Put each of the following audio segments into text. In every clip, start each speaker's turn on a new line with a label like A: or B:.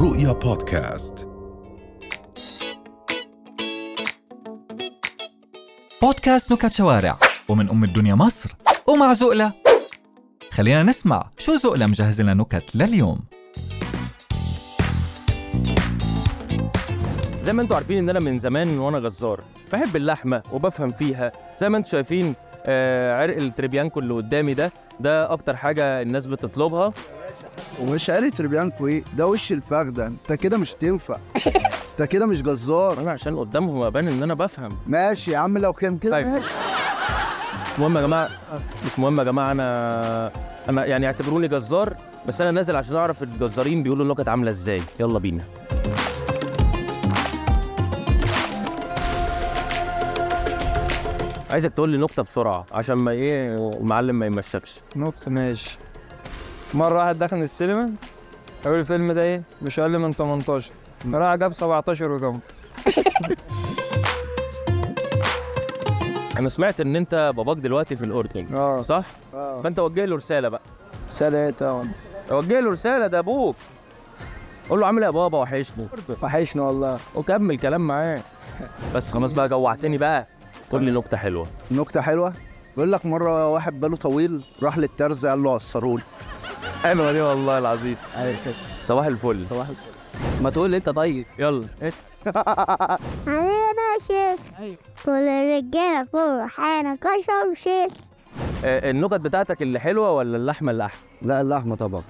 A: رؤيا بودكاست
B: بودكاست نكت شوارع ومن أم الدنيا مصر ومع زقلة خلينا نسمع شو زقلة مجهز لنا نكت لليوم
C: زي ما انتوا عارفين ان انا من زمان وانا جزار بحب اللحمه وبفهم فيها زي ما انتوا شايفين آه، عرق التريبيانكو اللي قدامي ده ده اكتر حاجه الناس بتطلبها
D: ومش قاري تريبيانكو ايه ده وش الفخده انت كده مش تنفع انت كده مش جزار
C: انا عشان قدامهم ابان ان انا بفهم
D: ماشي يا عم لو كان كده
C: طيب.
D: ماشي
C: مش مهم يا جماعه مش مهم يا جماعه انا انا يعني اعتبروني جزار بس انا نازل عشان اعرف الجزارين بيقولوا النكت عامله ازاي يلا بينا عايزك تقول لي نكته بسرعه عشان ما ايه المعلم ما يمشكش
E: نقطة ماشي مرة واحد دخل السينما قالوا الفيلم ده ايه؟ مش أقل من 18 راح جاب 17 وجنب
C: انا سمعت ان انت باباك دلوقتي في الاردن
E: اه
C: صح
D: آه.
C: فانت وجه له رساله بقى
E: سلاتة
C: وجه له رساله ده ابوك قول له عامل ايه يا بابا وحشني
E: وحشنا والله
C: وكمل كلام معاه بس خلاص بقى جوعتني بقى قول لي نكته حلوه
D: نكته حلوه بيقول لك مره واحد باله طويل راح للترز قال له عصرولي
C: حلوه دي والله العظيم صباح الفل صباح الفل ما تقول انت طيب يلا إيه؟
F: عينا شيخ أيوة. كل الرجاله فوق حانا كشم شيخ
C: آه، النكت بتاعتك اللي حلوه ولا اللحمه اللي احلى
G: لا اللحمه طبعا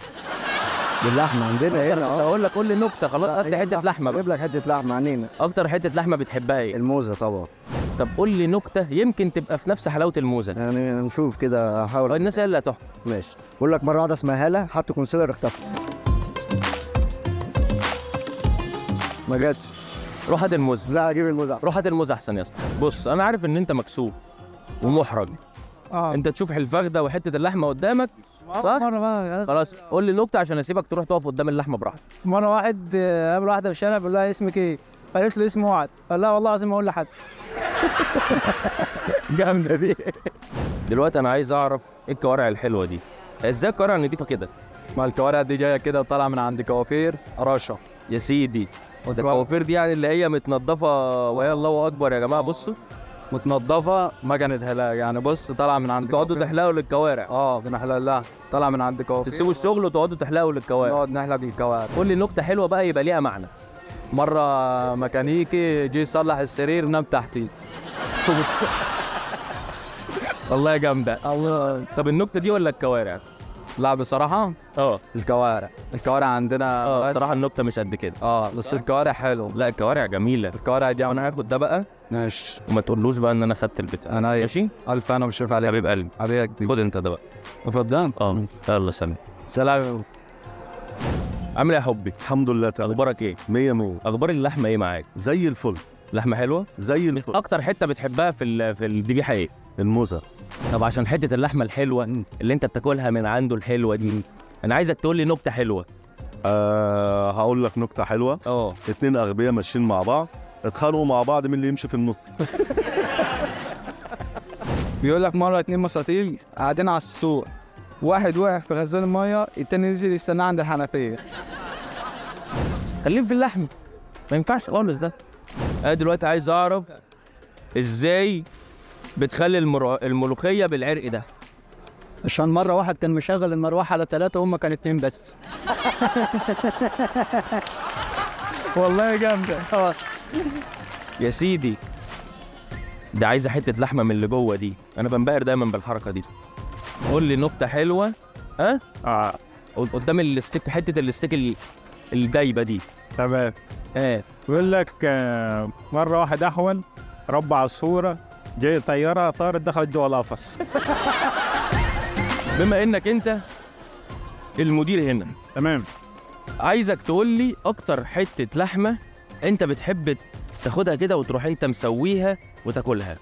G: اللحمه عندنا
C: كنت
G: هنا اه
C: هقول لك قول لي نكته خلاص هات لي حته لحمه بقى
G: جيب لك حته لحمه عنينا
C: اكتر حته لحمه بتحبها ايه
G: الموزه طبعا
C: طب قول لي نكته يمكن تبقى في نفس حلاوه الموزه
G: يعني نشوف كده
C: أو
G: هحاول
C: الناس هي اللي هتحكم
G: ماشي بقول لك مره واحده اسمها هاله حط كونسيلر اختفى ما جاتش
C: روح هات الموزه
G: لا اجيب الموزه
C: روح هات الموز احسن يا اسطى بص انا عارف ان انت مكسوف ومحرج
E: اه
C: انت تشوف الفخده وحته اللحمه قدامك صح
E: مرة بقى
C: خلاص قول لي نكته عشان اسيبك تروح تقف قدام اللحمه براحتك
E: مرة واحد آه، قابل واحدة في الشارع بيقول لها اسمك ايه؟ قالت له اسمي وعد قال لها والله العظيم ما اقول لحد
C: جامده دي دلوقتي انا عايز اعرف ايه الكوارع الحلوه دي ازاي الكوارع نضيفه كده
H: ما الكوارع دي جايه كده وطالعه من عند كوافير رشا
C: يا سيدي ده الكوافير دي يعني اللي هي متنضفه وهي الله اكبر يا جماعه بصوا
H: متنضفه ما كانت هلاك يعني بص طالعه من عند
C: تقعدوا
H: كوافير.
C: تحلقوا للكوارع
H: اه بنحلق لها طالعه من عند كوافير
C: تسيبوا الشغل وتقعدوا تحلقوا للكوارع
H: نقعد نحلق الكوارع
C: قول لي نكته حلوه بقى يبقى ليها معنى
H: مره ميكانيكي جه يصلح السرير نام تحتي
C: والله جامده
E: الله
C: طب النكته دي ولا الكوارع
H: لا بصراحه
C: اه
H: الكوارع الكوارع عندنا
C: اه
H: بس-
C: بصراحه النكته مش قد كده
H: اه بس الكوارع حلو
C: لا الكوارع جميله
H: الكوارع دي
C: انا هاخد ده بقى
H: ماشي
C: وما تقولوش بقى ان انا خدت البتاع
H: انا إيه؟
C: ماشي
H: الف انا وشوف عليك
C: حبيب قلبي
H: حبيبك
C: خد انت ده بقى
H: اتفضل
C: اه يلا سلام
H: سلام
C: عامل ايه يا حبي
I: الحمد لله تعالى
C: اخبارك ايه
I: مية مية
C: اخبار اللحمه ايه معاك
I: زي الفل
C: لحمه حلوه
I: زي الفل
C: اكتر حته بتحبها في ال- في الذبيحه ايه
I: الموزة
C: طب عشان حته اللحمه الحلوه اللي انت بتاكلها من عنده الحلوه دي انا عايزك تقول لي نكته حلوه
I: آه هقول لك نكتة حلوة
C: اه
I: اتنين أغبياء ماشيين مع بعض اتخانقوا مع بعض مين اللي يمشي في النص
E: بيقول لك مرة اتنين مساطيل قاعدين على السوق واحد وقع في غزال المية التاني نزل يستناه عند الحنفية
C: خليك في اللحم ما ينفعش خالص ده انا دلوقتي عايز اعرف ازاي بتخلي المرو... الملوخيه بالعرق ده
E: عشان مرة واحد كان مشغل المروحة على ثلاثة وهم كانوا اتنين بس والله جامدة اه
C: يا سيدي ده عايزه حته لحمه من اللي جوه دي انا بنبهر دايما بالحركه دي قول لي نكته حلوه ها
I: آه.
C: قد- قدام الستيك حته الستيك ال- الدايبه دي
J: تمام
C: اه
J: بيقول لك آه، مرة واحد أحول ربع عصفورة جاي طيارة طارت دخلت جوه القفص
C: بما انك انت المدير هنا
J: تمام
C: عايزك تقول لي اكتر حته لحمه انت بتحب تاخدها كده وتروح انت مسويها وتاكلها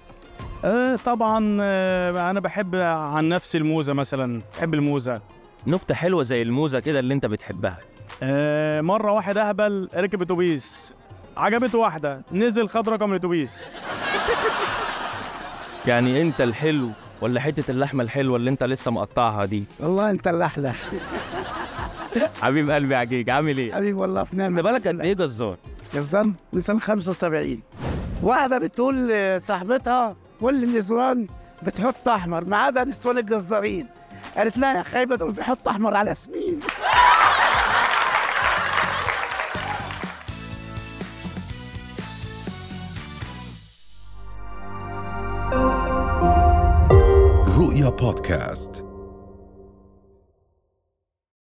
J: آه طبعا آه أنا بحب عن نفسي الموزة مثلا بحب الموزة
C: نكته حلوه زي الموزه كده اللي انت بتحبها
J: آه مرة واحد أهبل ركب أتوبيس عجبته واحدة نزل خد رقم الأتوبيس
C: يعني انت الحلو ولا حته اللحمه الحلوه اللي انت لسه مقطعها دي
E: والله انت الاحلى
C: حبيب قلبي عجيج عامل ايه
E: حبيبي والله في
C: خلي
E: نعمه
C: بالك قد ايه جزار
E: جزام نيسان 75 واحده بتقول لصاحبتها كل النسوان بتحط احمر ما عدا نسوان الجزارين قالت لها يا خايبه دول بيحطوا احمر على سمين
B: رؤيا بودكاست